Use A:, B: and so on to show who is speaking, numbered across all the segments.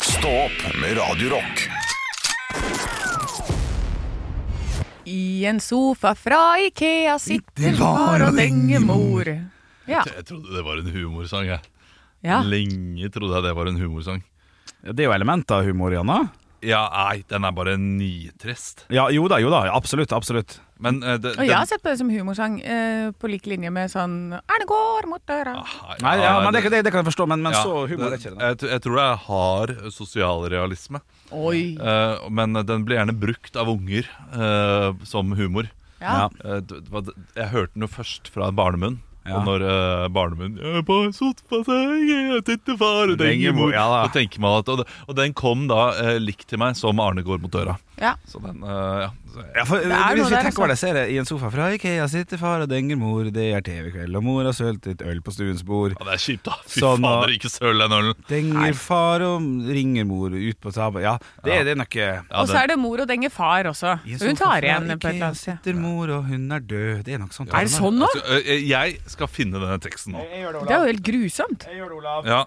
A: Stå opp med Radio Rock.
B: I en sofa fra Ikea sitter far og dengemor. Ja.
C: Jeg trodde det var en humorsang. Jeg.
B: ja.
C: Lenge trodde jeg det var en humorsang.
D: Det er jo element av humor, Janna.
C: Ja, nei, den er bare nitrist.
D: Ja, jo da, jo da. Absolutt. absolutt
C: Men eh, det,
B: Og jeg har sett på det som humorsang, eh, på lik linje med sånn Erne går mot døra.
D: Nei, ja, men det, det, det kan jeg forstå, men, men
C: ja,
D: så humor er
C: det-
D: ikke det.
C: Jeg, tr- jeg tror det er hard sosialrealisme.
B: Oi.
C: eh, men den blir gjerne brukt av unger eh, som humor.
B: Ja.
C: Eh, d- d- hva- d- jeg hørte den jo først fra en barnemunn.
D: Ja.
C: Og når eh, barnemunn «Jeg er på sofasengen, sitter far og tenker mor»,
D: Ja, da.
C: så tenker man at, og, det- og den kom da eh, likt til meg som Arne går mot døra.
B: Ja.
C: Så den, eh, ja. Så jeg,
D: Ja, for,
B: er noe
D: hvis vi
B: der, altså.
D: tenker over det, så er det i en sofa fra Ikea sitter far og denger mor, det er TV-kveld, og mor har sølt litt øl på stuens bord.
C: ja, det er kjipt, da. Fy
D: Sånn, og-
C: fader, ikke søl den ølen.
D: Denger far og ringer mor ut på tabba. Ja, det, er det er nok eh,
C: Ja,
B: Og så
C: den-
B: er det mor og denge far også.
D: i en
B: Så hun
D: sofa
B: tar
D: fra
B: igjen på et eller
D: Ikea
B: annet sted.
D: sitter mor, og hun er død. Det er nok sånn.
B: Er det sånn nå?
C: Så, eh, jeg skal finne denne teksten nå.
D: Jeg gjør
B: Det er jo helt grusomt.
D: Jeg gjør det, Olav.
C: Ja.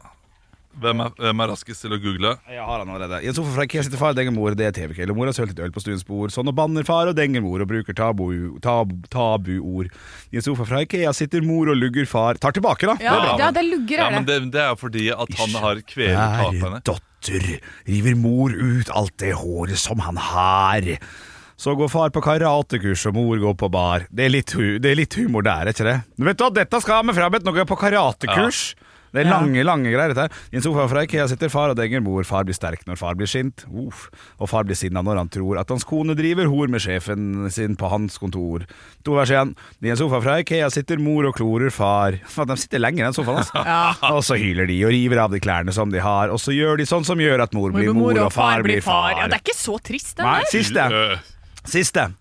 C: Hvem er, hvem er raskest til å google?
D: Jeg har han allerede. I en sofa fra Ikea sitter far og denger mor, det er TV-kveld, og mor har sølt litt øl på stuens bord. Sånn og banner far og denger mor og bruker tabu, tab, tabuord. I en sofa fra Ikea sitter mor og lugger far. Tar tilbake, da.
B: Ja,
C: Det er bra,
B: ja
C: men-
B: det lugger,
C: Ja,
B: er
C: men
B: det.
C: det, det er jo fordi at han har kvelet
D: Kjære
C: taket henne.
D: datter, river mor ut alt det håret som han har. Så går far på karatekurs, og mor går på bar. Det er litt, hu det er litt humor der, er ikke det? Men vet du hva, dette skal vi fram et noe på karatekurs. Det er
B: Ja.
D: lange lange greier. dette her I en sofa fra Ikea sitter far og denger mor. Far blir sterk når far blir sint. Uff. Og far blir sinna når han tror at hans kone driver hor med sjefen sin på hans kontor. To vers igjen. I en sofa fra Ikea sitter mor og klorer far. Faen, De sitter lenger i den sofaen, altså. Og så hyler de og river av de klærne som de har, og så gjør de sånn som gjør at mor blir mor og far blir far.
B: Ja, det er ikke så trist, den
D: Nei,
B: der.
D: siste.
C: Øh,
D: Siste.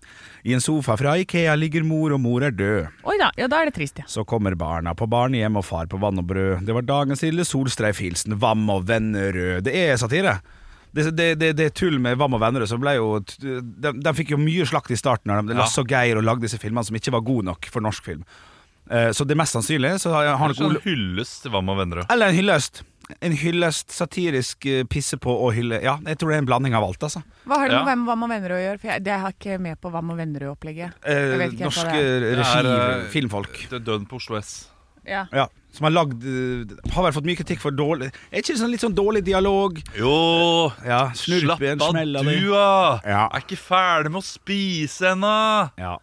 D: I en sofa fra Ikea ligger mor, og mor er død.
B: Oi da, ja da er det trist, ja.
D: Så kommer barna på barnehjem og far på vann og brød. Det var dagens lille Solstreif-hilsen Vam og Vennerød. Det er satire. Det, det, det, det tull med Vam og Vennerød som ble jo de, de fikk jo mye slakt i starten. av dem. Lasse og Geir og lagde disse filmene som ikke var gode nok for norsk film. Eh, Så det mest sannsynlige så har har
C: Han
D: nok Ole,
C: hylles til Vam og Vennerød.
D: Eller en hyllest. En hyllest, satirisk eh, pisse på og hylle Ja, jeg tror det er en blanding av alt, altså.
B: Hva har det
C: Ja.
B: med Hva med Vennerød å gjøre? For jeg, det har ikke med på Hva med Vennerød-opplegget. Jeg
D: Eh,
B: vet ikke helt hva
D: norske
B: det er.
D: regi,
C: Det er, eh,
D: filmfolk.
C: Det er døden på Oslo S.
B: Ja.
D: Ja, som har lagd eh, Har vel fått mye kritikk for dårlig Er ikke det sånn litt sånn dårlig dialog?
C: Jo,
D: Ja,
C: slapp
D: slurp i en
C: av
D: smell av det.
C: du, da!
D: Ja.
C: Er ikke ferdig med å spise ennå!
D: Ja.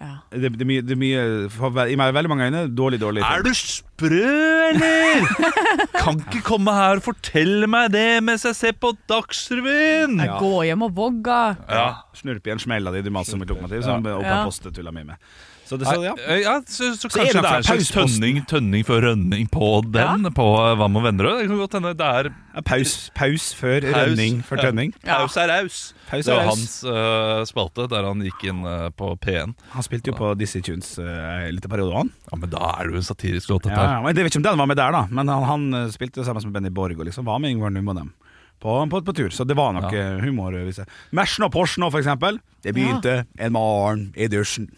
B: Ja.
D: Det, det, er mye, det er mye for, ve- I meg veldig mange øyne dårlig, dårlig. film.
C: Er du sprø, eller? kan ikke komme her og fortelle meg det mens jeg ser på Dagsrevyen!
B: Jeg Gå hjem og vogga.
C: Ja.
D: Snurp i en smell av de du maser om i lokomotiv, som Opa
B: Ja.
D: Poste tulla mye med. Så det, så, ja.
C: Eh, ja, så, så
D: er det
C: kanskje det
D: fra
C: er en slags
D: Pausposten.
C: tønning, tønning for rønning på den, på eh, Vam og Vennerød. Det kan godt hende det er
D: Ja, Paus, paus før
C: Paus.
D: rønning for
C: Ja.
D: tønning.
C: Paus er raus.
D: Paus
C: Det
D: er
C: var
D: raus.
C: hans eh, spalte der han gikk inn eh, på P1.
D: Han spilte jo på Dizzie Tunes eh, en liten periode, han.
C: Ja, men da er det jo en satirisk låt, dette
D: Ja,
C: her.
D: ja, men Jeg vet ikke om den var med der, da, men han, han eh, spilte jo sammen med Benny Borg og liksom var med Yngvar Num og dem. På, på, på tur, så det var nok
C: Ja.
D: eh, humor. hvis jeg- Mersen og Porschen òg, for eksempel. Det begynte en morgen i dusjen.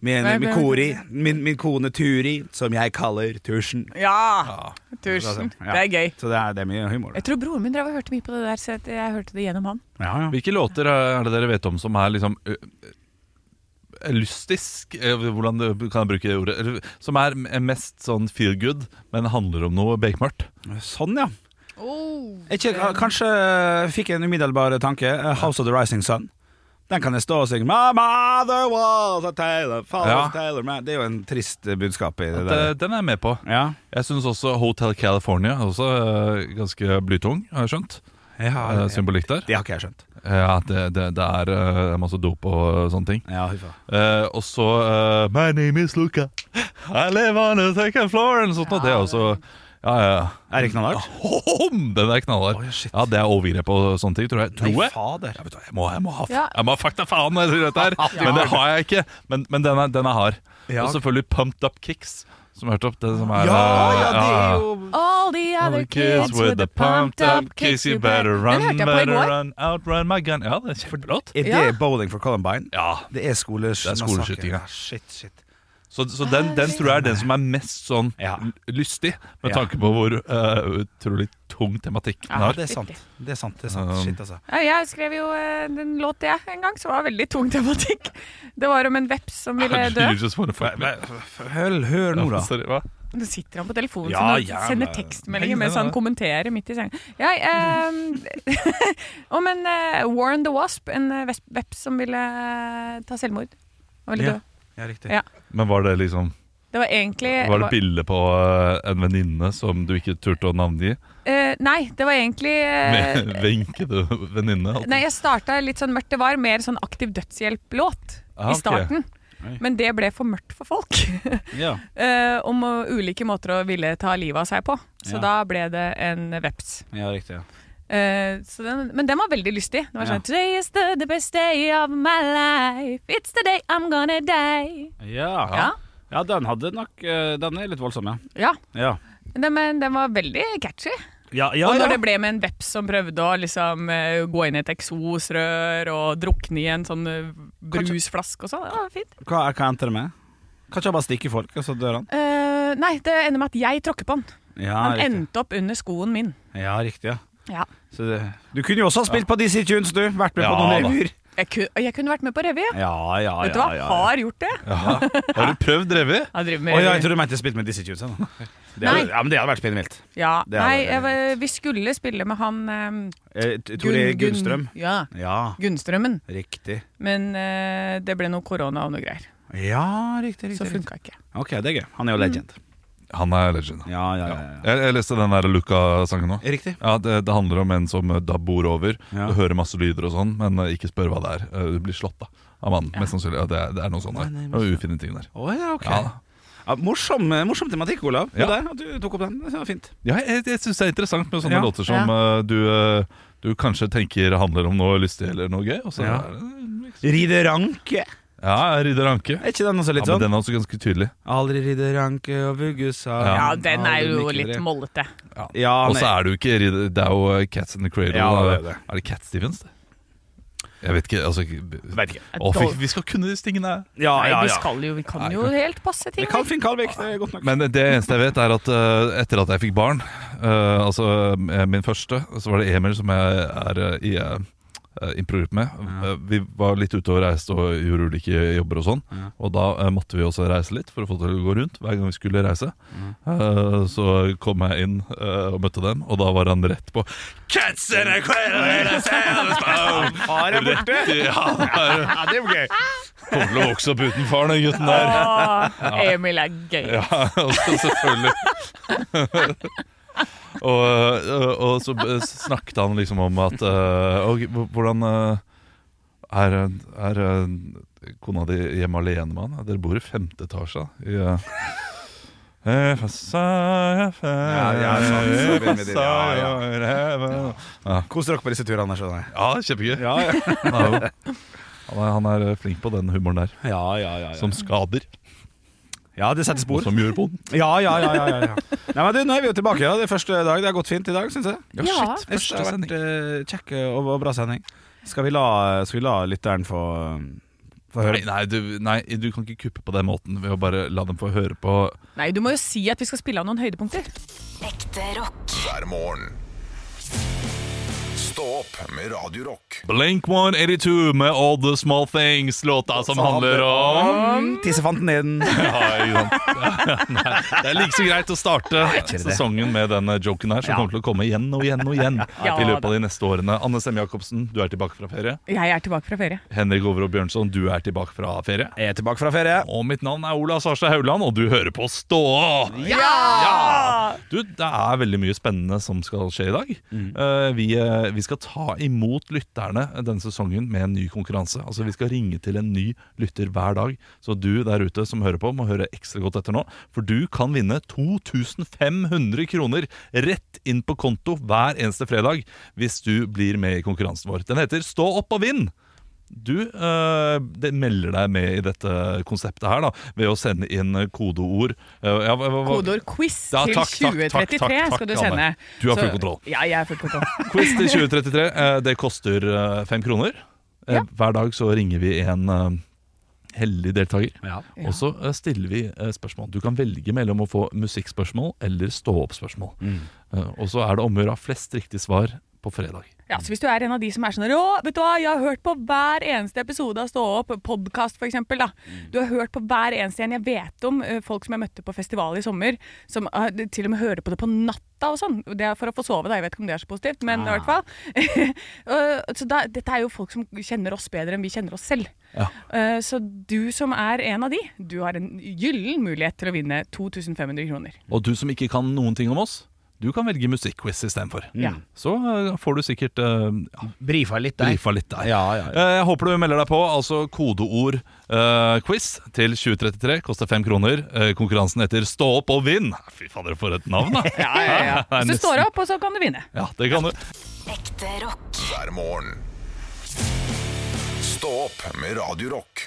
D: Min,
B: Nei,
D: min,
B: det-
D: kori, min, min kone Turi, som jeg kaller Tusjen.
B: Ja! Tusen.
D: Ja.
B: Det er gøy.
D: Så det er, det er mye humor.
B: Jeg tror broren min drev og hørte mye på det der, så jeg jeg hørte det gjennom han.
D: Ja, ja.
C: Hvilke låter er det dere vet om som er liksom ø, ø, lystisk Eh, Hvordan du- kan jeg bruke det ordet? Eller, Som er m- mest sånn feel good, men handler om noe bekmørkt.
D: Sånn, ja.
B: Oh.
D: Jeg ikke, kanskje eh, fikk jeg en umiddelbar tanke. eh, House of the Rising Sun. Den kan jeg stå og synge. My mother was a tailor,
C: Ja.
D: father's tailor man. Det er jo en trist eh, budskap i det der.
C: Det, den er jeg med på.
D: Ja.
C: Jeg syns også Hotel California er også ø, ganske blytung, har jeg skjønt.
D: Ja,
C: Eh, Symbolikk der.
D: Det har ikke jeg skjønt.
C: Ja, det, det, det er ø, masse dop og sånne ting.
D: Ja, huffa.
C: Eh, og så eh, My name is Luca. I live on the second floor. Eller sånt, og det er også Ja, ja.
D: Er det knallhardt?
C: Hom! Den er knallhard.
D: Oi, shit.
C: ja, det er overgrep og sånne ting, tror jeg. Tror jeg.
D: fader.
C: Jeg, vet, hva, jeg, må, jeg, må ha,
B: Ja.
C: jeg må ha fakta faen når jeg sier dette her, men det har jeg ikke. Men, men den, er, den er hard.
D: Ja.
C: Og selvfølgelig Pumped Up Kicks, som jeg hørte opp. Det som er,
D: Ja,
C: eh,
D: ja, det
C: ja.
D: er jo
B: All the other kids with the pumped up kicks you better run,
C: Den
B: better
C: better
B: run.
C: run, outrun my gun. Ja, det er kjempelåt.
D: Er det
B: Ja.
D: Bowling for Columbine?
C: Ja.
D: Det er skoles
C: Det er skoleskyting, ja.
D: Shit, shit.
C: Så, så den, den tror jeg er den som er mest sånn
D: Ja.
C: l- lystig, med
D: Ja.
C: tanke på hvor eh, utrolig tung tematikk den
B: Ja,
C: har.
D: Det er sant. Det er sant. det er sant
C: Um,
D: Shit, altså.
B: Ja, jeg skrev jo eh, en låt jeg en gang som var veldig tung tematikk. Det var om en veps som ville dø.
C: You just wanna fuck me.
D: Hør, hør nå, da.
C: Sorry, hva?
B: Nå sitter han på telefonen
D: Ja,
B: sin og
D: jævla-
B: sender tekstmeldinger
C: Nei,
B: mens
C: nei,
B: han
C: nei.
B: kommenterer midt i sengen. Jeg, eh, om en eh, Warren the Wasp, en eh, vesp- veps som ville eh, ta selvmord. Han ville
D: Ja.
B: dø.
D: Ja, riktig.
B: Ja.
C: Men var det liksom
B: Det var egentlig
C: Var det bilde på eh, en venninne som du ikke turte å navngi?
B: Eh, Nei, det var egentlig eh,
C: Med venkede venninne? altså.
B: Nei, jeg starta litt sånn mørkt. Det var mer sånn aktiv dødshjelp-låt
C: Ah, ok.
B: i starten.
D: Oi.
B: Men det ble for mørkt for folk.
D: Ja.
B: eh, om å- ulike måter å ville ta livet av seg på. Så
D: Ja.
B: da ble det en veps.
D: ja, riktig. Ja.
B: Eh, så den, men den var veldig lystig. Den var
D: Ja.
B: sånn Today is the, the best day of my life. It's the day I'm gonna die.
D: Ja.
B: Ja.
D: ja, den hadde nok eh, Den er litt voldsom, ja.
B: ja.
D: Ja,
B: Den, men den var veldig catchy.
D: ja, ja,
B: Og
D: ja.
B: når det ble med en veps som prøvde å liksom eh, gå inn i et eksosrør og drukne i en sånn eh, brusflaske og sånn, det var fint.
D: Hva, hva endte det med? Kanskje han bare stikker folk, og så dør han?
B: Eh, nei, det ender med at jeg tråkker på den.
D: Ja,
B: Den
D: Ah, riktig.
B: endte opp under skoen min.
D: Ja, riktig ja.
B: Ja.
D: Så det, du kunne jo også ha spilt på DC Tunes, du. Vært med
C: Ja,
D: på noen
C: da.
D: revyer.
B: Jeg, ku, jeg kunne vært med på revy.
D: Ja, ja,
B: Vet du
D: Ah,
B: hva?
D: ja, ja, ja.
B: Har gjort det.
C: Har du prøvd revy?
B: Jeg driver
D: Å
B: med
D: ja, jeg
B: revy.
D: trodde du mente spilt med DC Tunes. ja, da. Det
B: Nei.
D: hadde, ja, men det hadde vært spinnvilt.
B: Ja,
D: Det hadde
B: nei,
D: vært veldig
B: jeg, vi skulle spille med han um,
D: Eh, T- Tore Gunnstrøm.
B: Ja,
D: Ja,
B: Gunnstrømmen.
D: riktig.
B: Men eh, det ble noe korona og noe greier.
D: Ja, riktig,
B: Så Mm.
D: riktig. riktig.
B: funka ikke.
D: Ok, det er gøy. Han er jo legend.
C: Han er legend.
D: Ja, ja, ja. ja.
C: Jeg, jeg leste den der Luca-sangen nå.
D: Riktig.
C: Ja, det, det handler om en som eh, da bor over.
D: Ja.
C: Du hører masse lyder og sånn, men eh, ikke spør hva det er. Eh, Du blir slått da, av mannen. Mest sannsynlig. Ja, det, er- det er noe sånn der.
D: Nei, nei, men
C: Det er ufine ting der.
D: Å ja, ok.
C: Ja.
D: Ja, morsom, eh, morsom tematikk, Olav.
C: Ja.
D: Det der, at du tok opp den. Det var fint.
C: Ja, jeg jeg syns det er interessant med sånne
D: Ja.
C: låter som eh, du, eh, du kanskje tenker handler om noe lystig eller noe gøy. Og så
D: Ja.
C: er det
D: Ridde ranke.
C: Ja, Ridder Anke.
D: Er ikke den også
C: Ja,
D: litt
C: men
D: sånn?
C: den er også ganske tydelig.
D: Aldri ridde ranke over gussa
C: Ja,
B: Ja, den er
D: Aldri
B: jo
D: nikke
B: litt
D: dere.
B: mollete.
D: ja,
C: Og så
D: Ah, nei.
C: er det jo ikke ridder- Det er jo eh, Cats in the Cradle.
D: Ja, det er
C: er,
D: det.
C: det Cat Stevens, det? Jeg vet ikke. Altså
D: Vet ikke.
C: Å, fy, vi skal kunne disse tingene.
D: Ja,
B: Nei,
D: ja,
B: vi
D: ja.
B: skal jo Vi kan
C: Nei,
B: jo helt passe ting.
D: Det kan Finn Kalvik, det er godt nok.
C: Men det eneste jeg vet er at eh, etter at jeg fikk barn, eh, altså eh, min første, så var det Emil som jeg er eh, i uh, improgruppe med.
D: Ja.
C: Eh, vi var litt ute og reiste og gjorde ulike jobber og sånn.
D: Ja.
C: Og da eh, måtte vi også reise litt for å få det til å gå rundt hver gang vi skulle reise. Eh, så kom jeg inn eh, og møtte dem, og da var han rett på Cats in a cradle,
D: Far er borte!
C: Ja, bare
D: Ja, det er jo gøy.
C: Kommer til å vokse opp uten far, den gutten der.
B: Åh, Emil er gøy.
C: Ja, altså, også selvfølgelig. og, øh, og så b- snakket han liksom om at øh, og, h- Hvordan øh, er, er øh, kona di hjemme alene med han? Dere bor i femte etasje. da, I, øh, ja,
D: ja, sant. Ja, Kos dere på disse turene, skjønner jeg.
C: Ja, kjempegøy.
D: Ja, ja,
C: Han er, jo- han er- han er flink på den humoren der,
D: ja. ja, ja, ja.
C: som skader,
D: ja det setter
C: og
D: spor.
C: som gjør vondt.
D: Ja, ja, ja. ja, ja, ja. Nei, men du, nå er vi jo tilbake. Ja. Det er første dag. Det har gått fint i dag, syns jeg.
B: Ja, Ja.
C: shit,
D: Jeg synes
C: første
D: det har
C: sending.
D: vært eh, kjekk og, og bra sending. Skal vi la, skal vi la lytteren få, få høre?
C: Nei, nei, du, nei, du kan ikke kuppe på den måten ved å bare la dem få høre på
B: Nei, du må jo si at vi skal spille av noen høydepunkter.
E: Ekte rock.
A: hver morgen. Stå opp med Radio Rock.
C: Blink 182 med All The Small Things, låta som handler om
D: Tissefanten i den.
C: ja, ikke sant. Ja, nei, Det er like så greit å starte
D: det.
C: sesongen med den eh, joken her, som
D: Ja.
C: kommer til å komme igjen og igjen og igjen
B: Ja,
C: i løpet av de neste årene. Anne Semme Jacobsen, du er tilbake fra ferie.
B: Jeg er tilbake fra ferie.
C: Henrik Overå Bjørnson, du er tilbake fra ferie.
D: Jeg er tilbake fra ferie.
C: Og mitt navn er Ola Sarstad Hauland, og du hører på Stå opp! Ja! Du, det er veldig mye spennende som skal skje i dag. Eh, vi, eh, vi skal ta imot lytterne denne sesongen med en ny konkurranse. Altså Vi skal ringe til en ny lytter hver dag. Så du der ute som hører på, må høre ekstra godt etter nå. For du kan vinne 2500 kroner rett inn på konto hver eneste fredag hvis du blir med i konkurransen vår. Den heter Stå opp og vinn! Du eh, det melder deg med i dette konseptet her da, ved å sende inn kodeord. Eh, ja, hva- hva- hva-
B: Kodeord quiz
C: Ja,
B: til
C: takk, takk, takk,
B: 2033
C: takk, takk,
B: skal du
C: Anne.
B: sende.
C: Du har full
B: Så-
C: kontroll.
B: Ja, jeg er full kontroll.
C: Quiz til 2033. eh, Det koster eh, fem kroner. Eh,
B: Ja.
C: Hver dag så ringer vi en eh, heldig deltaker.
D: Ja.
C: Og så eh, stiller vi eh, spørsmål. Du kan velge mellom å få musikkspørsmål eller stå-opp-spørsmål. Eh, Og så er det om å gjøre å ha flest riktige svar på fredag.
B: Ja, så Hvis du er en av de som er sånn Å, vet du hva, jeg har hørt på hver eneste episode av Stå opp, podkast f.eks. da.
C: Mm.
B: Du har hørt på hver eneste en. Jeg vet om eh, folk som jeg møtte på festival i sommer, som eh, til og med hører på det på natta og sånn. Det er for å få sove, da. Jeg vet ikke om det er så positivt, men i
D: Ah.
B: hvert fall. Eh, så da, dette er jo folk som kjenner oss bedre enn vi kjenner oss selv.
C: Ja.
B: Eh, så du som er en av de, du har en gyllen mulighet til å vinne 2500 kroner.
C: Og du som ikke kan noen ting om oss, du kan velge musikkquiz istedenfor.
B: Ja.
C: Så eh, får du sikkert eh, ja,
D: Brifa litt der.
C: brifa litt der.
D: Ja, ja, ja.
C: Eh, Jeg håper du melder deg på. Altså kodeord eh, quiz til 2033. Koster fem kroner. Eh, konkurransen heter Stå opp og vinn. Fy fader, for et navn, da! Det er
B: Så
C: nesten-
B: står du opp, og så kan du vinne.
C: Ja, det kan du.
E: Ekte rock.
A: hver morgen. Stå opp med Radio Rock.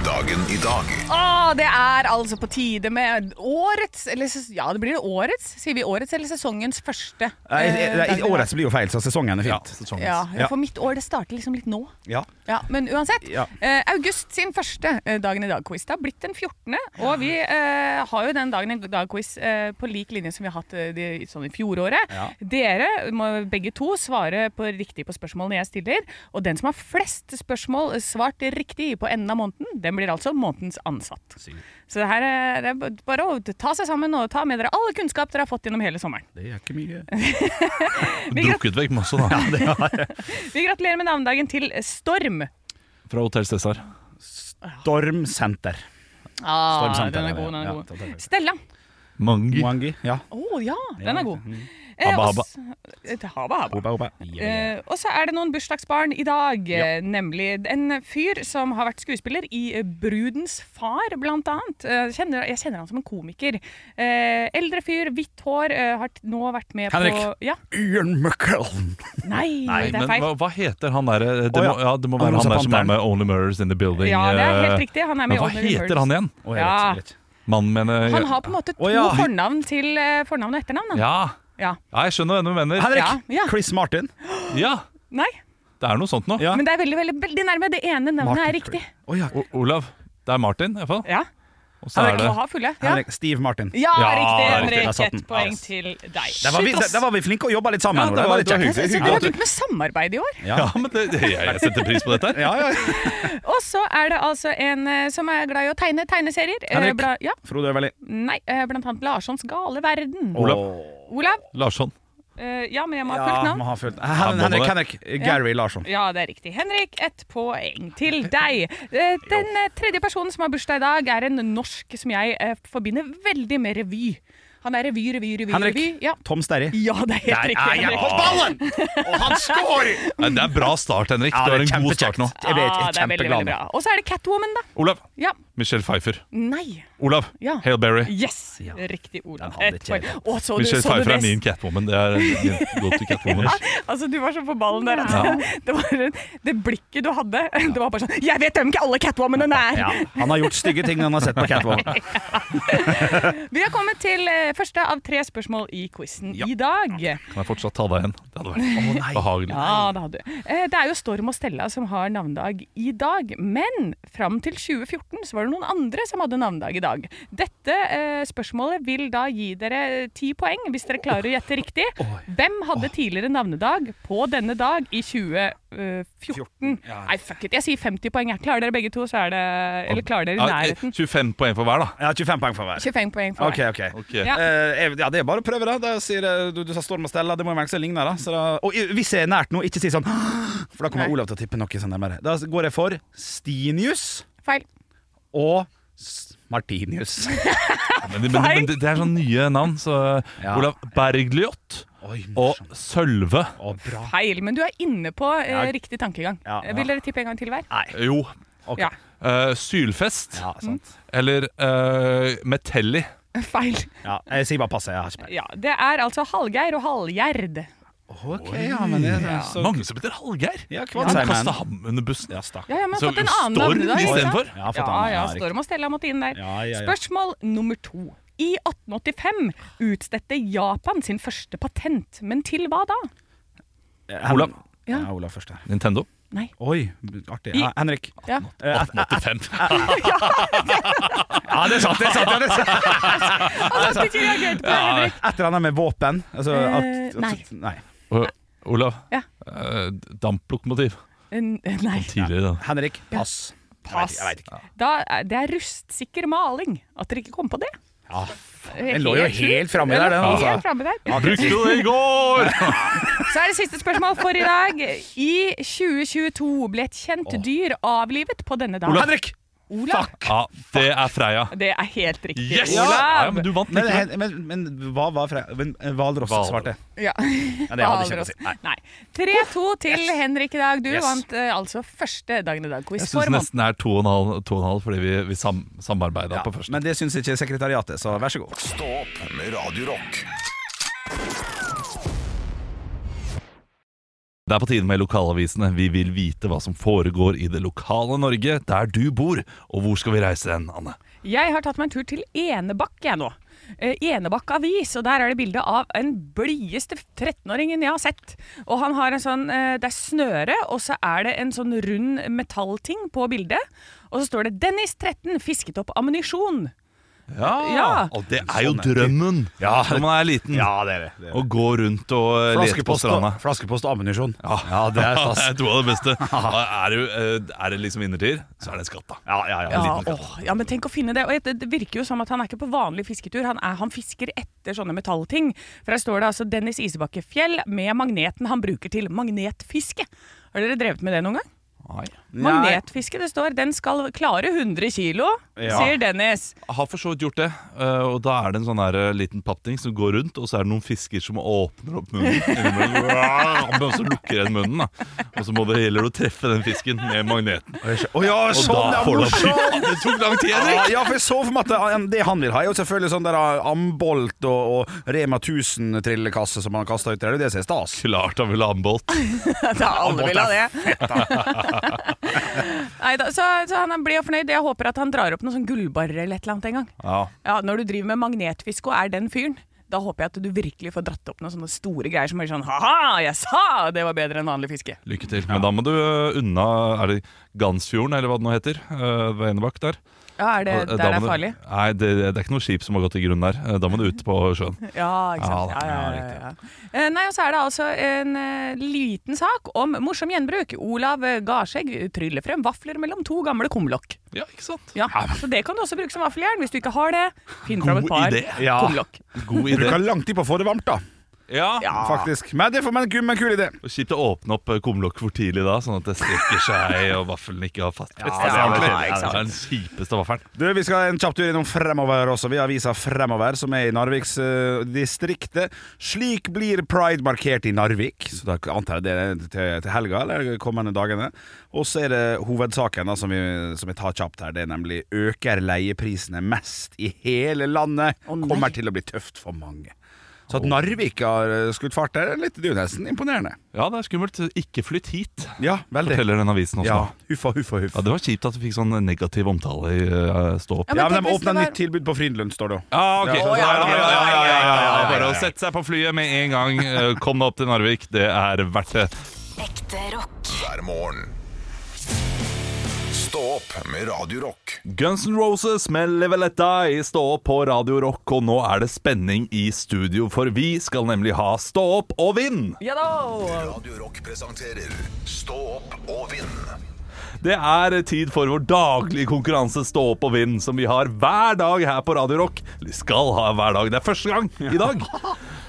A: Dagen i dag
B: Åh, det er altså på tide med årets, eller ses- ja, det blir det årets, sier vi årets, eller sesongens første.
D: Nei,
B: eh,
D: nei,
B: dag i dag.
D: årets blir jo feil, så sesongen er
C: Ja,
D: fint.
C: sesongens.
B: Ja,
D: Ja.
B: for mitt år, det starter liksom litt nå.
D: Ja.
B: Ja, men uansett,
D: Ja.
B: eh, august sin første eh, Dagen i dag-quiz. Det har blitt den 14. Og vi eh, har jo den Dagen i dag-quiz eh, på lik linje som vi har hatt eh, de, sånn i fjoråret.
D: Ja.
B: Dere må begge to svare på riktig på spørsmålene jeg stiller. Og den som har flest spørsmål eh, svart riktig på enden av måneden, den blir altså månedens ansatt. Så det her er, det er bare å ta seg sammen og ta med dere all kunnskap dere har fått gjennom hele sommeren.
D: Det er ikke mye.
C: Drukket vekk masse, da.
B: Vi gratulerer med navnedagen til Storm.
C: Fra Hotell Cæsar.
D: Storm Center. Storm
B: Ah,
D: Center,
B: den er
D: ja,
B: god, den
D: ja,
B: er god.
D: takk, takk, takk.
B: Stella.
C: Mangi.
D: Mwangi. Ja.
B: Å ja, den er god.
C: Mhm. Habba,
B: og s- eh, til Habba Habba.
D: Opa, opa.
B: Eh, og så er det noen bursdagsbarn i dag. eh, Nemlig en fyr som har vært skuespiller i eh, Brudens far, blant annet. Eh, kjenner, jeg kjenner han som en komiker. Eh, eldre fyr, hvitt hår, eh, har t- nå vært med på
D: Henrik.
B: Ja.
D: Ian McCallum.
B: Nei,
C: Nei,
B: det er
C: men
B: feil.
C: hva, hva heter han derre det,
D: Å, ja.
C: må- ja, det må være han der som er med Only Murders in the Building.
B: Ja, det er helt
C: eh,
B: riktig. Han er med
C: Men
B: i
C: hva
B: Only
C: heter
B: Murders.
C: han igjen?
D: Å, jeg
B: Ja.
D: vet, jeg vet.
C: Mannen mener
B: Han har på en måte to
D: Å, ja.
B: fornavn til eh, fornavn og etternavn. da.
C: ja.
B: Ja.
C: ja, jeg skjønner hva du mener.
D: Henrik!
B: Ja, ja.
D: Chris Martin.
C: Ja,
B: Nei,
C: det er noe sånt nå.
D: Ja.
B: men det er veldig, veldig, veldig nærme. Det ene navnet
D: Martin
B: er riktig.
D: Å, ja.
C: O Olav. Det er Martin, i hvert fall.
B: Ja,
C: Og så er
B: Du
C: det
B: har fulle. Ja.
D: Henrik. Steve Martin.
B: Ja,
C: Ja,
B: riktig,
C: riktig.
D: Der
B: Henrik.
D: satt den.
B: Ett poeng
D: Ja.
B: til deg.
D: Der var, vi,
B: Shit, ass.
D: der, der var vi flinke og jobba litt
C: Ja,
D: sammen. Ola.
C: det
D: det
C: var-
D: var litt
C: det var
D: kjekt.
C: hyggelig.
B: Så dere har begynt med samarbeid i år.
C: Ja, men det, det, jeg setter pris på dette her.
D: Ja, ja.
B: Og så er det altså en eh, som er glad i å tegne tegneserier. Eh,
D: Henrik.
B: bla, ja,
D: Frode Øverli.
B: nei, eh, blant annet Larssons gale verden.
C: Olav.
B: Olav?
C: Larsson.
B: eh, ja, men jeg må ha fullt
D: Ja, må
B: navn.
D: ha fulgt.
C: Ja, må
D: Henrik,
C: det.
D: Henrik. Gary Larsson.
B: Ja, det er riktig. Henrik, ett poeng til deg. Eh, Den eh, tredje personen som har bursdag i dag, er en norsk som jeg eh, forbinder veldig med revy. Han er revy, revy, revy.
D: Henrik.
B: revy. Ja.
D: Tom Sterry.
B: ja, det er helt riktig.
D: jeg
B: Henrik.
D: på ballen! Og han scorer!
C: Nei, det er bra start, Henrik.
D: Ja,
C: du
D: det
C: har
D: er
C: en god
D: kjempekjekt.
C: start nå.
D: Jeg vet,
B: Ah,
D: jeg er
B: det er veldig, veldig
D: kjempeglad
B: bra.
D: nå.
B: Og så er det Catwoman, da.
C: Olav.
B: Ja.
C: Michelle Pfeiffer.
B: Nei.
C: Olav.
B: Ja.
C: Hale Berry.
B: Yes!
D: Ja.
B: Riktig ord.
D: Den hadde
B: Ett
D: ikke jeg
B: poeng.
D: tatt.
B: Å, så du,
C: Michelle
B: så du
C: Pfeiffer
B: det?
C: er min catwoman. Det er min go-to catwoman.
B: Altså, du var så på ballen der. altså. Det, var, det blikket du hadde, det var bare sånn Jeg vet hvem ikke alle catwomanene er!
D: Ja, han har gjort stygge ting han har sett på Catwalk.
B: Vi har kommet til eh, første av tre spørsmål i quizen i dag.
C: Kan jeg fortsatt ta deg igjen? Det hadde vært behagelig.
B: Ja, det hadde du. Eh, Det er jo Storm og Stella som har navnedag i dag. Men fram til 2014 så var det noen andre som hadde navnedag i dag. Dette eh, spørsmålet vil da gi dere ti poeng hvis dere klarer å gjette riktig. Hvem hadde tidligere navnedag på denne dag i 2014? Nei, fuck it. Jeg sier 50 poeng. jeg. Klarer dere begge to, så er det Eller klarer dere i
C: Ja, eh,
B: nærheten?
C: 25 poeng for hver, da.
D: Jeg har 25 poeng for hver.
B: 25 poeng for
D: Ok,
B: meg.
D: ok.
C: Ok.
B: Ja.
D: Eh, jeg- ja, det er bare å prøve, da. da sier, jeg- du, du sa Storm og Stella, det må jo være noe som ligner. Da. Så da, og i- hvis jeg er nært nå, ikke si sånn For da kommer
B: Nei.
D: Olav til å tippe noe sånn nærmere. Da går jeg for Stinius
B: Feil.
D: og S- Martinius.
C: Men, men, men det, det er sånne nye navn. Så
D: Ja.
C: Olav Bergljot
D: Oi,
C: og Sølve.
D: Å, bra.
B: Feil. Men du er inne på eh,
D: Ja.
B: riktig tankegang.
D: Ja,
B: Eh, Vil dere tippe en gang til hver?
C: Jo.
D: Ok.
B: Ja.
C: eh, sylfest.
D: Ja, sant.
C: Eller eh, Metelli.
B: Feil.
D: Ja, jeg sier bare pass, jeg har ikke peiling.
B: Ja, Det er altså Hallgeir og Hallgjerd.
D: Ok, ja, men det er så
C: Mange som heter Hallgeir.
D: Ja,
C: Han
D: Kvadsheim.
C: kasta ham under bussen.
D: Ja, stakkar.
B: Ja, ja, men jeg har
C: Så
B: fått en annen
C: Storm
B: navnedag. ikke sant?
C: istedenfor?
D: Ja, jeg har fått
B: Ja,
D: annen,
B: ja,
D: riktig.
B: Storm og Stella måtte inn der.
D: Ja, ja, ja.
B: Spørsmål nummer to. I 1885 utstedte Japan sin første patent, men til hva da?
C: Olav.
D: Ja.
B: Ja.
D: Olav først her.
C: Nintendo.
B: Nei.
D: Oi, artig. Ja, Henrik.
B: Ja.
C: 1885.
D: Ja, det er sant! det er sant, ja, det er sant.
B: Altså, skulle ikke reagert på det, Henrik.
D: Et eller annet med våpen. Altså,
B: Eh,
D: at,
B: nei.
D: at, nei.
C: Og- Olav.
B: Ja.
C: Eh, damplokomotiv.
B: En- eh, Nei.
C: Tidligere, da.
D: Henrik, pass.
B: Pass.
D: Jeg vet ikke. Jeg vet ikke.
B: Da, er- det er rustsikker maling. At dere ikke kom på det.
D: Ja, faen, Ah, den lå jo helt framme der, den.
B: Helt
D: Altså.
B: framme der.
C: Brukte du det i går!
B: Så er det siste spørsmål for i dag. I 2022 ble et kjent dyr avlivet på denne dagen.
D: Henrik!
B: Olav.
C: Ja, det er Freya.
B: Det er helt riktig.
C: Yes! Ja, ja,
B: Olav!
C: men du vant
D: Men,
C: likevel.
D: men, men, hva var fra Men Hvalross
C: Hval.
D: svarte.
B: Ja.
D: Ja, det hadde jeg ikke kjent å si.
B: Nei. 3-2 til Henrik i dag. Du
D: Yes.
B: vant eh, altså første Dagen i dag-quiz
C: Jeg
B: for
C: syns
B: måneden.
C: nesten det er to og en halv, to og en halv fordi vi, vi sam, samarbeida
D: Ja,
C: på første.
D: men det syns ikke sekretariatet, så vær så god.
A: Stå opp med Radio Rock.
C: Det er på tide med lokalavisene. Vi vil vite hva som foregår i det lokale Norge, der du bor. Og hvor skal vi reise hen, Anne?
B: Jeg har tatt meg en tur til Enebakk jeg nå. Eh, Enebakk avis, og der er det bilde av en blideste 13-åringen jeg har sett. Og han har en sånn eh, Det er snøre, og så er det en sånn rund metallting på bildet. Og så står det 'Dennis 13 fisket opp ammunisjon'. Ja.
C: Og det Sånn er jo drømmen når man er liten.
D: det er det. det, er
C: Å gå rundt og eh, lete på
D: Flaskepost,
C: stranda.
D: og- flaskepost og ammunisjon. Ja. det er
C: Det
D: stas.
C: er to av det beste. Er det, eh, er det liksom innertier, så er det en skatt, da.
D: Ja, ja, ja.
B: Ja,
C: liten katt.
B: åh, ja, men tenk å finne det. Og det, det virker jo som at han er ikke på vanlig fisketur. Han, er, han fisker etter sånne metallting. For her står det altså Dennis Isbakke Fjell med magneten han bruker til magnetfiske. Har dere drevet med det noen gang? Magnetfiske, det står. Den skal klare 100 kilo,
D: Ja.
B: sier Dennis.
C: Jeg har for så vidt gjort det. eh, Og da er det en sånn her eh, liten pappting som går rundt, og så er det noen fisker som åpner opp munnen. innimellom, Og så lukker den munnen, da. Og så må det, gjelder det å treffe den fisken med magneten.
D: Å ja,
C: Og
D: sånn,
C: da
D: ja,
C: får du
D: morsomt!
C: Det tok lang tid,
D: Ja,
C: Henrik!
D: ja, for jeg så for meg at det- det han vil ha, er jo selvfølgelig sånn der ah, ambolt og, og Rema 1000-trillekasse som han kaster ut. Det er jo det som er stas.
C: Klart han ville ha ambolt.
B: Da alle vil ha det. Neida, så, så han blir jo fornøyd. Jeg håper at han drar opp noen sånn gullbarrer eller et eller annet en gang.
C: Ja.
B: Ja, når du driver med magnetfiske og er den fyren, da håper jeg at du virkelig får dratt opp noen sånne store greier som er sånn ha-ha, jeg sa det var bedre enn vanlig fiske.
C: Lykke til. Men da må du eh, unna Er det Gansfjorden, eller hva det nå heter? eh, Ved Enebakk der.
B: Ja, er det
C: Og, eh,
B: der
C: da
B: det
C: må
B: er farlig?
C: Du, nei, det, det er ikke noe skip som har gått i grunn der. Eh, Da må du ut på sjøen.
B: Ja, ikke sant.
C: Ja,
B: Ja, ja, ja, ja. Eh, Nei, og så er det altså en eh, liten sak om morsom gjenbruk. Olav eh, Garskjegg tryller frem vafler mellom to gamle kumlokk.
C: Ja, ikke sant?
B: Ja, så det kan du også bruke som vaffeljern hvis du ikke har det. Finn fram
C: God
B: et par
C: idé.
D: Ja.
B: kumlokk.
C: God idé.
D: Bruker lang tid på å få det varmt, da.
C: Ja.
D: Faktisk. Men det får man en kul, men kul idé.
C: Og Kjipt å åpne opp eh, kumlokket for tidlig da, sånn at det strekker seg og vaffelen ikke har fast fest.
B: det er
C: Altså,
B: ordentlig. Ja,
C: det
B: ikke sant.
C: er den kjipeste vaffelen.
D: Du, Vi skal en kjapp tur innom Fremover også. Vi har avisa Fremover, som er i Narviksdistriktet. Slik blir pride markert i Narvik. Så da antar jeg det er til, til helga eller de kommende dagene. Og så er det hovedsaken da, som, vi, som jeg tar kjapt her. Det er nemlig øker leieprisene mest i hele landet.
B: nei.
D: Kommer til å bli tøft for mange. Så at Narvik har eh, skutt fart der, er litt, det er jo nesten imponerende.
C: Ja, det er skummelt. Ikke flytt hit,
D: Ja, veldig.
C: forteller den avisen også.
D: Ja,
C: Ja.
D: huffa, huffa, huffa.
C: Det var kjipt at du fikk sånn negativ omtale i eh, Stå opp.
B: Ja, men
D: Ja, men de
B: tenk hvis det
D: åpna
B: var-
D: nytt tilbud på Frydenlund, står det jo.
C: Ja, ok.
D: Ja,
C: Så-
D: ja, ja, ja, ja, ja, ja, ja, ja.
C: Bare å sette seg på flyet med en gang. eh, Kom deg opp til Narvik. Det er verdt det.
E: Ekte rock.
A: hver morgen. Stå opp med Radio Rock.
C: Guns N' Roses med Level Let Die Stå opp på Radio Rock, og nå er det spenning i studio, for vi skal nemlig ha Stå opp og vinn!
B: Ja da!
A: Radio Rock presenterer Stå opp og vinn.
C: Det er tid for vår daglige konkurranse Stå opp og vinn, som vi har hver dag her på Radio Rock. Eller skal ha hver dag. Det er første gang i dag.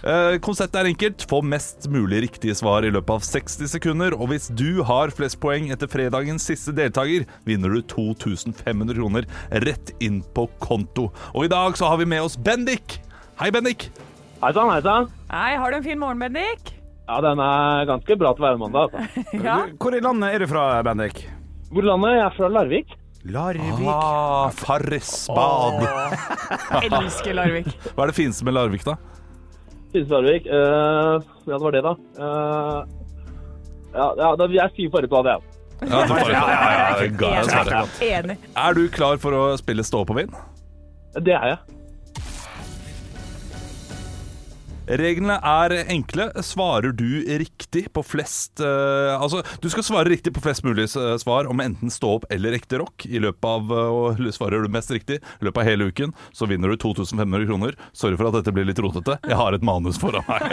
C: Eh, konseptet er enkelt. Få mest mulig riktige svar i løpet av 60 sekunder. Og hvis du har flest poeng etter fredagens siste deltaker, vinner du 2500 kroner rett inn på konto. Og i dag så har vi med oss Bendik. Hei, Bendik.
F: Hei sann, hei sann.
B: Hei, har du en fin morgen, Bendik?
F: Ja, den er ganske bra til å være mandag. Altså.
B: Ja.
D: Hvor i landet er du fra, Bendik?
F: Hvor landet? Jeg er fra Larvik.
D: Larvik.
C: Ah, Farrisbad.
B: Elsker Larvik.
C: Hva er det fineste med Larvik, da?
F: Finnes Larvik. Eh, ja, det var det, da. Eh, ja, ja, da jeg sier forrige på det, ja.
C: Ja, det var, ja, ja, ja, ga jeg svaret.
B: Enig.
C: Er du klar for å spille Stå opp og vinn?
F: Det er jeg.
C: Reglene er enkle. Svarer du riktig på flest eh, Altså, du skal svare riktig på flest mulig eh, svar om enten stå opp eller ekte rock i løpet av eh, Og svarer du mest riktig i løpet av hele uken, så vinner du 2500 kroner. Sorry for at dette blir litt rotete. Jeg har et manus foran meg.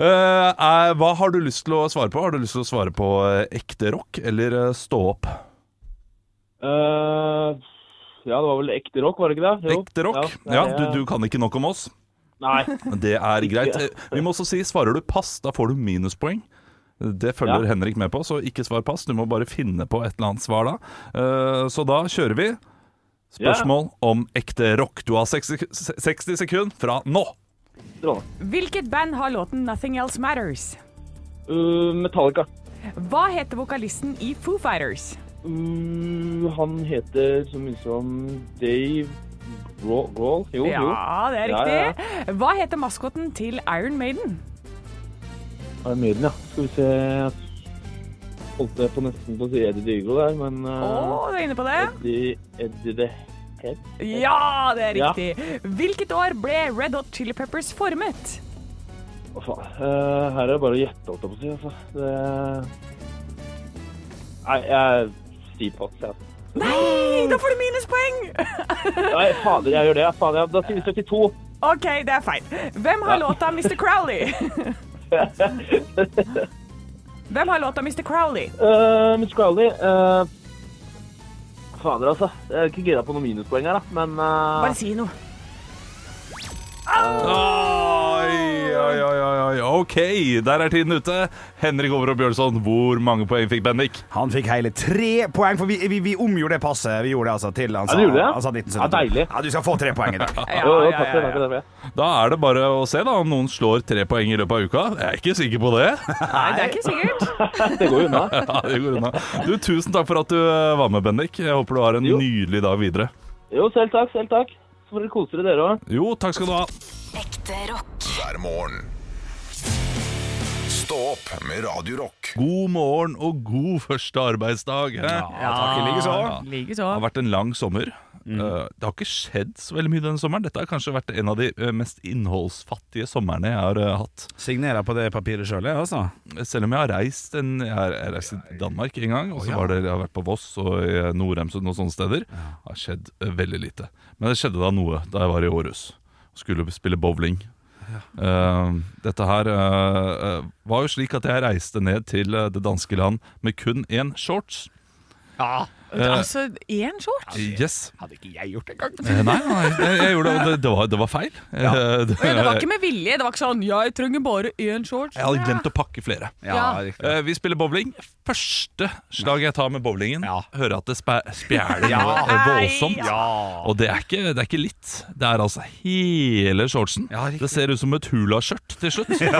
C: Eh, eh, hva har du lyst til å svare på? Har du lyst til å svare på eh, ekte rock eller eh, stå opp?
F: Eh, ja, det var vel ekte rock, var det ikke det? Jo.
C: Ekte rock?
F: nei,
C: Ja,
F: jeg-
C: du, du kan ikke nok om oss.
F: Nei.
C: Det er greit. Eh, Vi må også si svarer du pass, da får du minuspoeng. Det følger
F: Ja.
C: Henrik med på, så ikke svar pass. Du må bare finne på et eller annet svar da. Eh, Så da kjører vi. Spørsmål om ekte rock. Du har 60 sek- 60 sekunder fra nå.
F: Strålende.
B: Hvilket band har låten 'Nothing Else Matters'?
F: Uh, Metallica.
B: Hva heter vokalisten i Foo Fighters?
F: Uh, han heter så mye som Dave Grohl. Grohl? Oh, Jo, jo.
B: Ja, det er
F: Ja, ja,
B: riktig. Hva heter maskotten til Iron Maiden?
F: Er det Maiden, ja? Skal vi se Holdt jeg på nesten på å si Eddie Dyrgo der, men
B: Å,
F: uh,
B: du er inne på det?
F: Eddie, Eddie the Head?
B: Ja, det er
F: Ja.
B: riktig. Hvilket år ble Red Hot Chili Peppers formet?
F: Hva faen? Eh, her er det bare å gjette, holdt jeg på å si. Altså. Det Nei, jeg sier pass, jeg. Ja.
B: Nei, da får du minuspoeng!
F: Nei, fader, jeg gjør det. ja. Fader, ja. Da sier vi 72.
B: OK, det er feil. Hvem har låta Mr. Crowley? Hvem har låta Mr. Crowley?
F: Uh, Miss Crowley eh, Fader, altså. Jeg er ikke gira på noen minuspoeng her, da, men eh,
B: Bare si noe.
C: Oi, oi, oi, oi, oi. OK, der er tiden ute. Henrik Over og Bjørnson, hvor mange poeng fikk Bendik?
D: Han fikk hele tre poeng, for vi, vi, vi omgjorde det passet. Vi gjorde det altså til han
F: Ja, du gjorde det?
D: han sa 1972.
F: Ja, deilig.
D: Ja, du skal få tre poeng i dag.
B: Ja,
F: Jo, jo,
B: ja,
F: takk
B: ja,
F: for det.
B: ja.
F: Takk for det.
C: Da er det bare å se da om noen slår tre poeng i løpet av uka. Jeg er ikke sikker på det.
B: Nei, det er ikke sikkert.
F: Det går jo unna.
C: Ja, det går unna. Du, Tusen takk for at du eh, var med, Bendik. Jeg håper du har en
F: Jo.
C: nydelig dag videre.
F: Jo, selv takk, selv takk. Så får dere kose dere, dere òg.
C: Jo, takk skal du ha.
E: Ekte rock.
A: hver morgen. Stå opp med Radio Rock.
C: God morgen og god første arbeidsdag. hæ?
D: takk i like så.
C: Det har
B: Likeså.
C: vært en lang sommer. Eh, Det har ikke skjedd så veldig mye denne sommeren. Dette har kanskje vært en av de eh, mest innholdsfattige somrene jeg har eh, hatt.
D: Signerer på det papiret sjøl, jeg, altså.
C: Selv om jeg har reist en, jeg har jeg har reist til Danmark en gang, og så var det, jeg har vært på Voss og eh, i Nordheimsund og sånne steder, det har skjedd eh, veldig lite. Men det skjedde da noe da jeg var i Århus og skulle spille bowling. Eh, dette her eh, eh, var jo slik at jeg reiste ned til eh, det danske land med kun én shorts.
B: Altså, én shorts?
C: Yes.
D: Hadde ikke jeg gjort det engang.
C: Eh, nei, nei, jeg, jeg gjorde det, det, var, det var feil. Eh, det-
B: Men det var ikke med vilje. Det var ikke sånn 'jeg trenger bare én shorts'.
C: jeg hadde glemt å pakke flere.
D: Ja,
B: Ja.
D: riktig.
C: Eh, vi spiller bowling. Første slag jeg tar med bowlingen,
D: Ja.
C: hører at det spæ- spjæler
D: Ja.
C: noe eh, voldsomt.
D: Ja.
C: Og det er, ikke, det er ikke litt. Det er altså hele shortsen.
D: Ja, riktig.
C: det ser ut som et hulaskjørt til slutt. Det,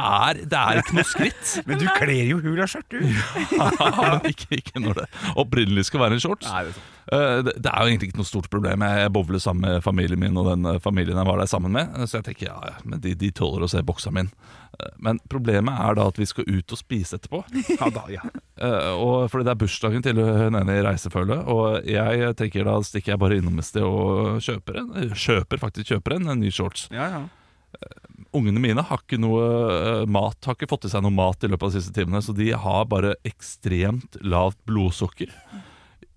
C: er, det er ikke noe skritt,
D: Men du kler jo hulaskjørt, du.
C: men ikke, ikke når det opprinnelig skal være en shorts.
D: Nei, det er sant.
C: Eh, Det det er jo egentlig ikke noe stort problem. Jeg bowler sammen med familien min og den eh, familien jeg var der sammen med. Eh, Så jeg tenker ja, ja, men de, de tåler å se boksa min. Eh, Men problemet er da at vi skal ut og spise etterpå.
D: Ja, da, ja.
C: Eh, og fordi det er bursdagen til hun ene i reisefølget, og jeg tenker da stikker jeg bare innom et sted og kjøper en, eh, kjøper faktisk kjøper en, en ny shorts.
D: Ja, ja.
C: Ungene mine har ikke noe eh, mat, har ikke fått i seg noe mat i løpet av de siste timene, så de har bare ekstremt lavt blodsukker.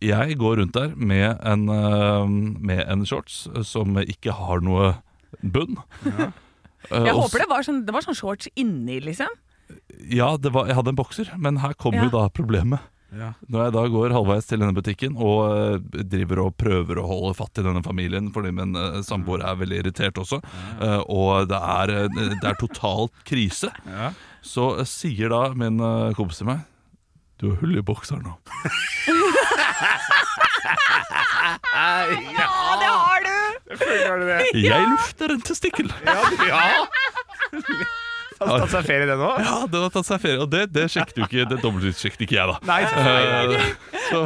C: Jeg går rundt der med en, eh, med en shorts som ikke har noe bunn. Eh,
B: Jeg
C: og
B: håper det var sånn, det var sånn shorts inni, liksom.
C: Ja, det var, jeg hadde en bokser, men her kom
B: Ja.
C: jo da problemet.
D: Ja.
C: Når jeg da går halvveis til denne butikken og eh, driver og prøver å holde fatt i denne familien, fordi min eh, samboer er veldig irritert også, eh, og det er, eh, det er totalt krise,
D: Ja.
C: så eh, sier da min eh, kompis til meg Du har hull i bokseren nå.
B: Ja, det har du!
C: Jeg lufter en testikkel!
D: Har du tatt seg ferie, det nå?
C: Ja, den har tatt seg ferie, og det, det sjekket jo ikke, det dobbeltsjekket ikke jeg, da.
D: Nei, selvfølgelig.
C: Eh, så,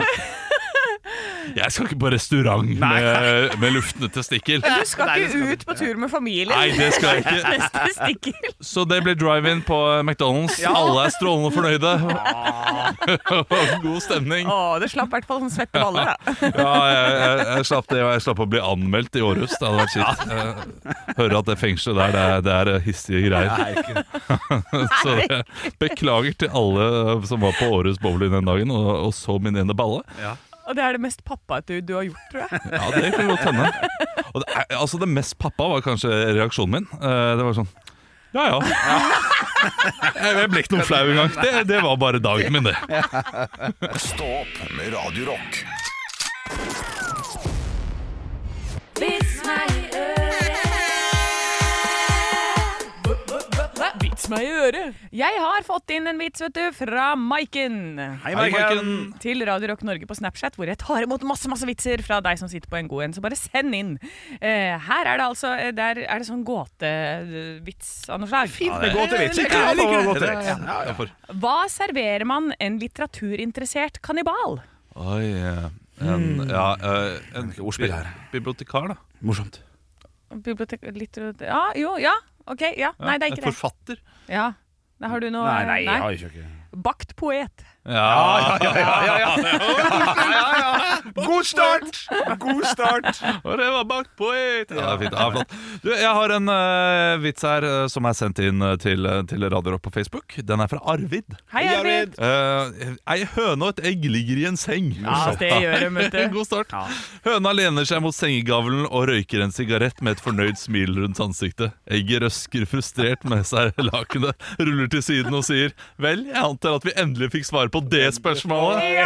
C: Jeg skal ikke på restaurant med, med luftende testikkel.
B: Du skal ikke ut på tur med familien.
C: Nei, det skal jeg ikke.
B: Neste stikker.
C: Så det ble drive-in på McDonald's. Alle er strålende fornøyde. God stemning.
B: Å, det slapp i hvert fall sånn svette baller, da.
C: Ja, jeg, jeg, jeg slapp det, og jeg slapp å bli anmeldt i Århus. Det hadde vært kjipt. Jeg Hører at det fengselet der, det er, det er hissige greier. Så jeg beklager til alle eh, som var på Århus bowling den dagen og, og så min ene balle.
B: Og det er det mest pappate du har gjort, tror jeg.
C: Ja, det kan godt hende. Og det, er- altså, det mest pappa var kanskje reaksjonen min. Eh, Det var sånn Ja, ja. Jeg jeg ble ikke noe flau engang. Det, det var bare dagen min, det.
A: Stå opp med Radio Rock.
B: Vits meg i øret. Jeg har fått inn en vits, vet du, fra Maiken.
D: Hei,
C: Hei,
D: Maiken.
C: Maiken.
B: til Radio Rock Norge på Snapchat, hvor jeg tar imot masse masse vitser fra deg som sitter på en god en. Så bare send inn. Eh, her er det altså eh, Der er det sånn gåtevits av noe slag.
D: Ja, det er gåtevits. Jeg klarer å gå til vits. Ja, ja.
C: Derfor.
B: Hva serverer man en litteraturinteressert kannibal?
C: Oi, eh, en, ja, eh, en
D: Ikke ordspill her.
C: bibliotekar, da.
D: Morsomt.
B: Bibliotek... Litter... Ja, jo, ja. Ok, ja. Nei, det er
C: en
B: ikke det.
C: forfatter.
B: Ja. Da har du noe
D: Nei, nei, jeg har jo ikke
B: Bakt poet.
C: Ja,
D: God start! God start!
C: og det var bakt poet! Ja, det er fint. Ja, flott. Du, jeg har en eh, vits her eh, som er sendt inn eh, til, eh, til Radio Rock på Facebook. Den er fra Arvid.
B: Hei, Arvid.
C: Eh, ei høne og et egg ligger i en seng.
B: Ja, det gjør de, vet du.
C: God start. Høna lener seg mot sengegavlen og røyker en sigarett med et fornøyd smil rundt ansiktet. Egget røsker frustrert med seg lakenet, ruller til siden og sier Vel, jeg antar at vi endelig fikk svar på det spørsmålet.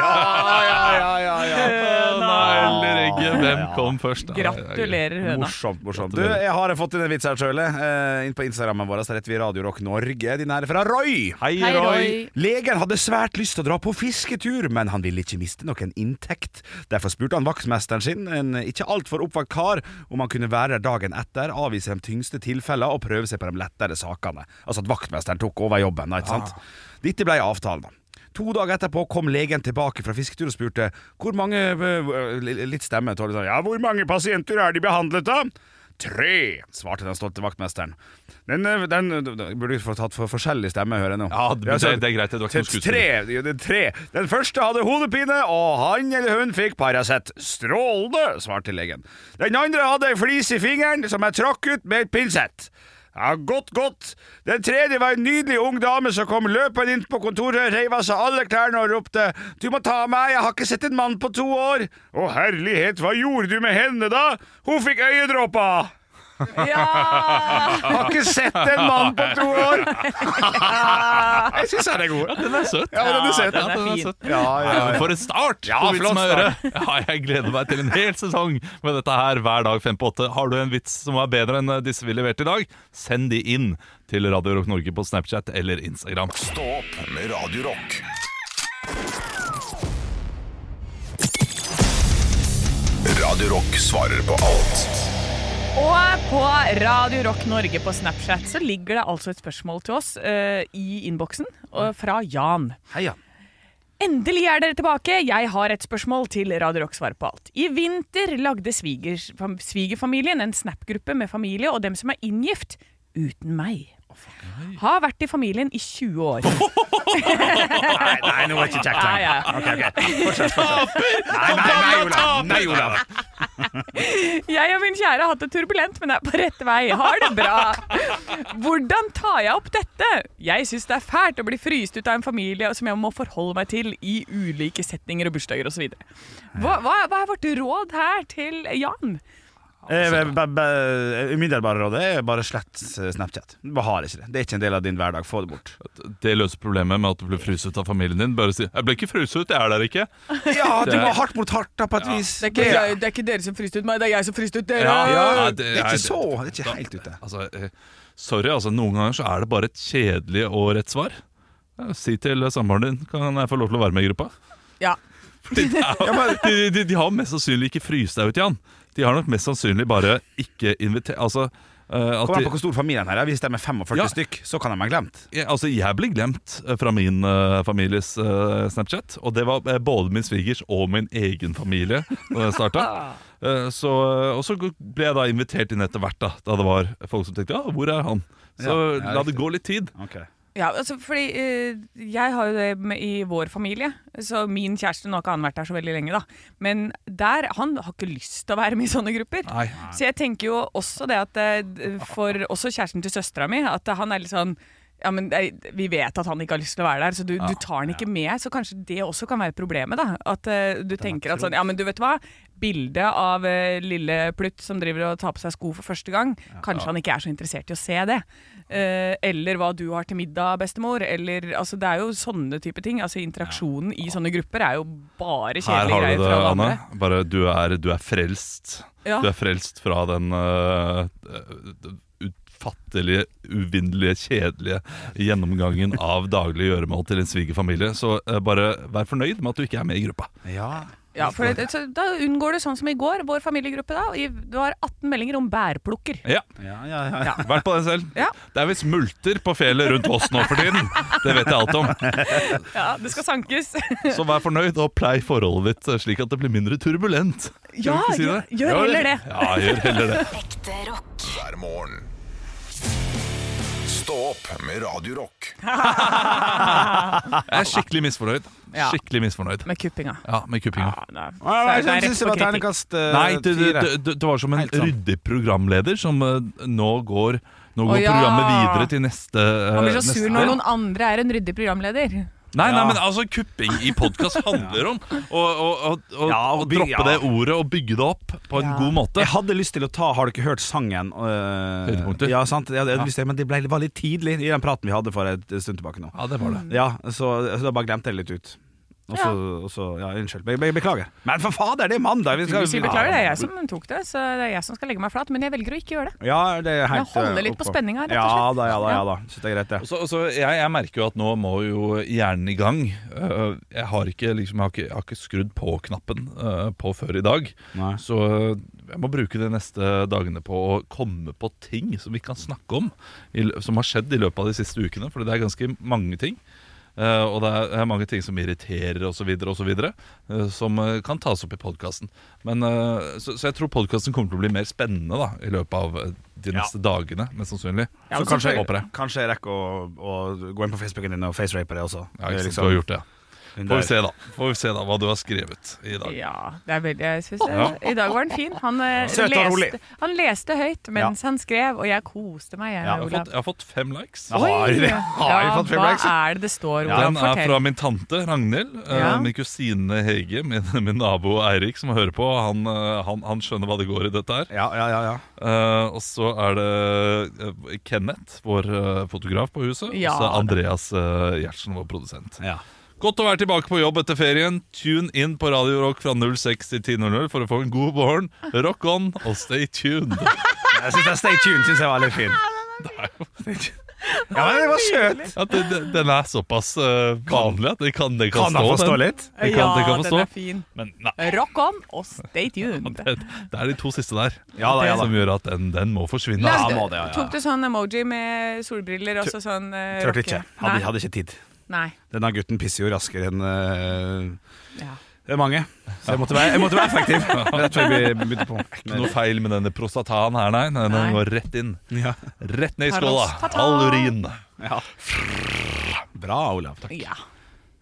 C: Høna eller egget, hvem kom først? Ja,
B: Gratulerer, høna.
D: Morsomt, morsomt. Du, jeg har fått inn en vits her sjøl. Eh, inn på Instagrammen vår så heter vi Radio Rock Norge. Din her er fra Roy.
C: Hei,
B: Hei,
C: Roy.
B: Roy.
D: Legen hadde svært lyst til å dra på fisketur, men han ville ikke miste noen inntekt. Derfor spurte han vaktmesteren sin, en ikke altfor oppvakt kar, om han kunne være der dagen etter, avvise de tyngste tilfellene og prøve seg på de lettere sakene. Altså at vaktmesteren tok over jobben, da, ikke sant?
B: Ah.
D: Dette ble avtalen, da. To dager etterpå kom legen tilbake fra fisketur og spurte hvor mange øh, øh, Litt stemme. Tålig, sånn, ja, hvor mange pasienter er de behandlet, da? Tre, svarte den stolte vaktmesteren. Den, øh, den øh, burde du få tatt for forskjellig stemme, hører jeg nå.
C: Ja, det-
D: så-
C: det er greit, det var ikke noe skuespill.
D: Tre, jo, det er tre. Den første hadde hodepine, og han eller hun fikk Paracet. Strålende, svarte legen. Den andre hadde ei flis i fingeren som jeg trakk ut med et pinsett. Ja, Godt, godt. Den tredje var en nydelig ung dame som kom løpende inn på kontoret, reiv av seg alle klærne og ropte 'Du må ta meg, jeg har ikke sett en mann på to år'. Å herlighet, hva gjorde du med henne da? Hun fikk øyedråper.
B: Ja!
D: Har ikke sett en mann på to år! Jeg syns han er god.
C: Den er søt.
D: Ja, den er søt.
C: Ja, den er
B: fin.
C: søt.
D: Ja, ja, ja.
C: For en start!
D: Ja,
C: på Vits
D: flott
C: med øre. Ja, jeg gleder meg til en hel sesong med dette her hver dag fem på åtte. Har du en vits som er bedre enn disse vi leverte i dag, send de inn til Radio Rock Norge på Snapchat eller Instagram.
A: Stå opp med Radio Rock. Radio Rock svarer på alt.
B: Og på Radio Rock Norge på Snapchat så ligger det altså et spørsmål til oss eh, i innboksen og fra Jan.
D: Heia.
B: Endelig er dere tilbake. Jeg har et spørsmål til Radio Rock svar på alt. I vinter lagde svigers- fam- svigerfamilien en Snap-gruppe med familie og dem som er inngift, uten meg. Har vært i familien i 20 år.
D: Nei, nei, nå var det ikke kjekt
B: Ja, ja.
D: lenger. Ok, ok. Fortsett, fortsett. Nei, nei, nei, Olav. Nei, Olav.
B: Jeg og min kjære har hatt det turbulent, men er på rett vei. Har det bra. Hvordan tar jeg opp dette? Jeg syns det er fælt å bli fryst ut av en familie som jeg må forholde meg til i ulike setninger og bursdager osv. Hva, hva, hva er vårt råd her til Jan?
D: Eh, b- b- Umiddelbare rådet er bare slett eh, Snapchat. Du bare har ikke det. Det er ikke en del av din hverdag. Få det bort.
C: Det løser problemet med at du blir fryset ut av familien din. Bare si 'jeg ble ikke fryset ut, jeg er der ikke'.
D: Ja, du må hardt mot hardt, da, på et vis.
B: dere som fryste ut meg, det er jeg som fryste ut dere.
D: Ja,
C: Ja,
D: ja,
C: det-
D: det er
C: nei,
D: ikke
C: det-
D: så Det er ikke helt ute.
C: Altså, eh, sorry, altså, noen ganger så er det bare et kjedelig og rett svar. Ja, Si til eh, samboeren din 'kan jeg få lov til å være med i gruppa'?
B: Ja.
C: Fordi det er- de, de, de har mest sannsynlig ikke fryst deg ut, Jan. De har nok mest sannsynlig bare ikke invitert Altså, eh, at
D: Kommer an
C: de-
D: på hvor stor familien her er. Hvis de er 45
C: Ja.
D: stykk, så kan de ha glemt.
C: jeg, altså, jeg ble glemt eh, fra min eh, families eh, Snapchat. Og det var eh, både min svigers og min egen familie da det starta. Eh, så, og så ble jeg da invitert inn etter hvert, da, da det var folk som tenkte ja, hvor er han? Så
D: Ja, ja,
C: la det
D: riktig.
C: gå litt tid.
B: Ja, altså, fordi eh, Jeg har jo det med, i vår familie. Så Min kjæreste nå har ikke han vært der så veldig lenge. da. Men der, han har ikke lyst til å være med i sånne grupper.
C: Nei.
B: Så jeg tenker jo også det at eh, d- For også kjæresten til søstera mi, at han er litt sånn ja, men det er- Vi vet at han ikke har lyst til å være der, så du, du tar han ikke med. Så kanskje det også kan være problemet. da At eh, du tenker at sånn Ja, men du vet hva? Bildet av eh, lille Plutt som driver og tar på seg sko for første gang. Kanskje han ikke er så interessert i å se det. Eh, eller hva du har til middag, bestemor. Eller altså Det er jo sånne type ting. Altså Interaksjonen i sånne grupper er jo bare
C: Her
B: kjedelige
C: har du
B: greier
C: det,
B: fra alle
C: Anne.
B: andre.
C: Bare du er, du er frelst.
B: Ja.
C: Du er frelst fra den eh, utfattelige, uvinnelige, kjedelige gjennomgangen av daglig gjøremål til en svigerfamilie. Så eh, bare vær fornøyd med at du ikke er med i gruppa.
D: Ja.
B: Ja, for det, så da unngår du sånn som i går, vår familiegruppe da. og i- Det var 18 meldinger om bærplukker.
C: Ja,
D: Ja, ja, ja.
C: Vært på den selv.
B: Ja.
C: Det er visst multer på fjellet rundt oss nå for tiden. Det vet jeg alt om.
B: Ja, det skal sankes.
C: Så vær fornøyd og plei forholdet ditt eh, slik at det blir mindre turbulent. Skal
B: Ja,
C: vi ikke
B: gjør- gjør heller det.
C: Ja, gjør heller det.
E: Ekte rock.
A: hver morgen. Stå opp med Radio Rock.
C: Jeg er skikkelig misfornøyd.
B: Ja.
C: Skikkelig misfornøyd.
B: Med kuppinga.
C: Ja, med
B: Ja,
C: kuppinga.
B: da- så er
D: Ah, jeg
B: det
D: synes-
B: rett
D: synes det
B: på
D: var
B: kritikk.
D: terningkast eh,
C: Nei, det, det,
D: fire.
C: det, det var som en
D: Helt sant.
C: ryddig programleder som eh, nå går, nå går
B: Å, ja.
C: programmet videre til neste eh,
B: Han blir så sur
C: neste-
B: når noen andre er en ryddig programleder.
C: Nei, nei,
D: Ja.
C: men altså kupping i podkast handler om å, å, å, å,
D: Ja,
C: å
D: og by-
C: droppe
D: ja.
C: det ordet og bygge det opp på en
B: Ja.
C: god måte.
D: Jeg hadde lyst til å ta Har du ikke hørt sangen? øh,
C: Høydepunkter.
D: Ja, sant? Jeg hadde lyst til, men det ble, var litt tidlig i den praten vi hadde for et stund tilbake nå.
C: Ja, det var det.
D: Ja, så, så da bare glemte jeg det litt ut. Og så, og så ja, unnskyld. Be, be, beklager. Men for fader, det er mandag! Vi
B: Du
D: skal,
B: sier beklager, det er jeg som tok det, så det er jeg som skal legge meg flat. Men jeg velger å ikke gjøre det.
D: Ja, det er helt,
B: Jeg holder
D: øh,
B: litt på
D: oppå.
B: spenninga, rett og
D: Ja
B: slett.
D: da, ja da. ja da Synes det er greit,
C: Og
D: det.
C: så- og så jeg, jeg merker jo at nå må jo hjernen i gang. Øh, Jeg har ikke, liksom, jeg har ikke, jeg har ikke skrudd på-knappen øh, på før i dag.
D: Nei.
C: Så øh, jeg må bruke de neste dagene på å komme på ting som vi kan snakke om, i, lø- som har skjedd i løpet av de siste ukene. For det er ganske mange ting. Eh, og det er, er mange ting som irriterer osv., uh, som eh, kan tas opp i podkasten. så, så jeg tror podkasten kommer til å bli mer spennende da, i løpet av eh, de neste dagene, mest sannsynlig.
D: Så
C: Så
D: kanskje,
C: håper jeg.
D: kanskje jeg rekker å, å gå inn på Facebooken din og facerape det også.
C: Ja, ikke
D: Det er
C: sant, du
D: liksom-
C: har gjort det, ja.
D: Hun
C: Får vi
D: der.
C: se da, Får vi se da hva du har skrevet i dag.
B: Ja, det er veldig, jeg synes det. I dag var den fin. Han, eh,
D: Søt og
B: leste,
D: rolig.
B: han leste høyt mens han skrev, og jeg koste meg. Jeg,
C: Jeg
D: Ja,
C: har
B: Olav.
C: fått, jeg har fått fem likes.
D: Ja, har vi-
B: Oi!
D: har vi
B: Ja,
D: fått fem likes?
B: Hva er det det står?
C: Ja,
B: Olav?
C: Den er fra
B: Fortell.
C: min tante Ragnhild, eh,
B: Ja.
C: min kusine Hege, min, min nabo Eirik som hører på. Han, eh, han, han skjønner hva det går i dette her.
D: Ja, ja, ja, ja.
C: Eh, og så er det eh, Kenneth, vår eh, fotograf på huset.
B: Ja.
C: Og så Andreas eh, Gjertsen, vår produsent.
D: ja.
C: Godt å være tilbake på jobb etter ferien. Tune inn på Radio Rock fra 06 til 10.00 for å få en god morgen. Rock on og stay tuned.
D: Jeg synes jeg Stay tuned synes jeg var litt fin. Ja, men det var søt!
C: Ja, det, det, den er såpass eh, vanlig at det kan, det kan,
D: Kan han
C: stå.
D: forstå
C: den.
D: litt?
C: Det kan, det kan
B: Ja, den
C: forstå.
B: er fin.
C: Men nei,
B: Rock on og stay tuned.
C: det, det er de to siste der
D: Ja da, ja da.
C: som gjør at den, den må forsvinne.
B: Nei,
C: altså.
D: Ja, må det, ja, ja.
B: Tok du sånn emoji med solbriller og så sånn uh,
D: Turte ikke. Hadde, hadde ikke tid.
B: Nei.
D: Denne gutten pisser jo raskere enn øh,
B: Ja.
D: det er mange. Så jeg måtte være, jeg måtte være effektiv. Rett før vi begynte på.
C: Ikke noe feil med denne prostataen her, nei. nei den
B: Nei.
C: går rett inn.
D: Ja.
C: Rett ned i skåla.
B: Prostata.
C: All urin.
D: Ja. Bra, Olav. Takk.
B: ja.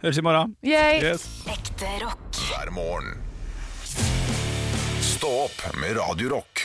D: Høres i morgen.
B: Yay.
C: Yes.
E: Ekte rock.
A: hver morgen. Stå opp med Radio Rock.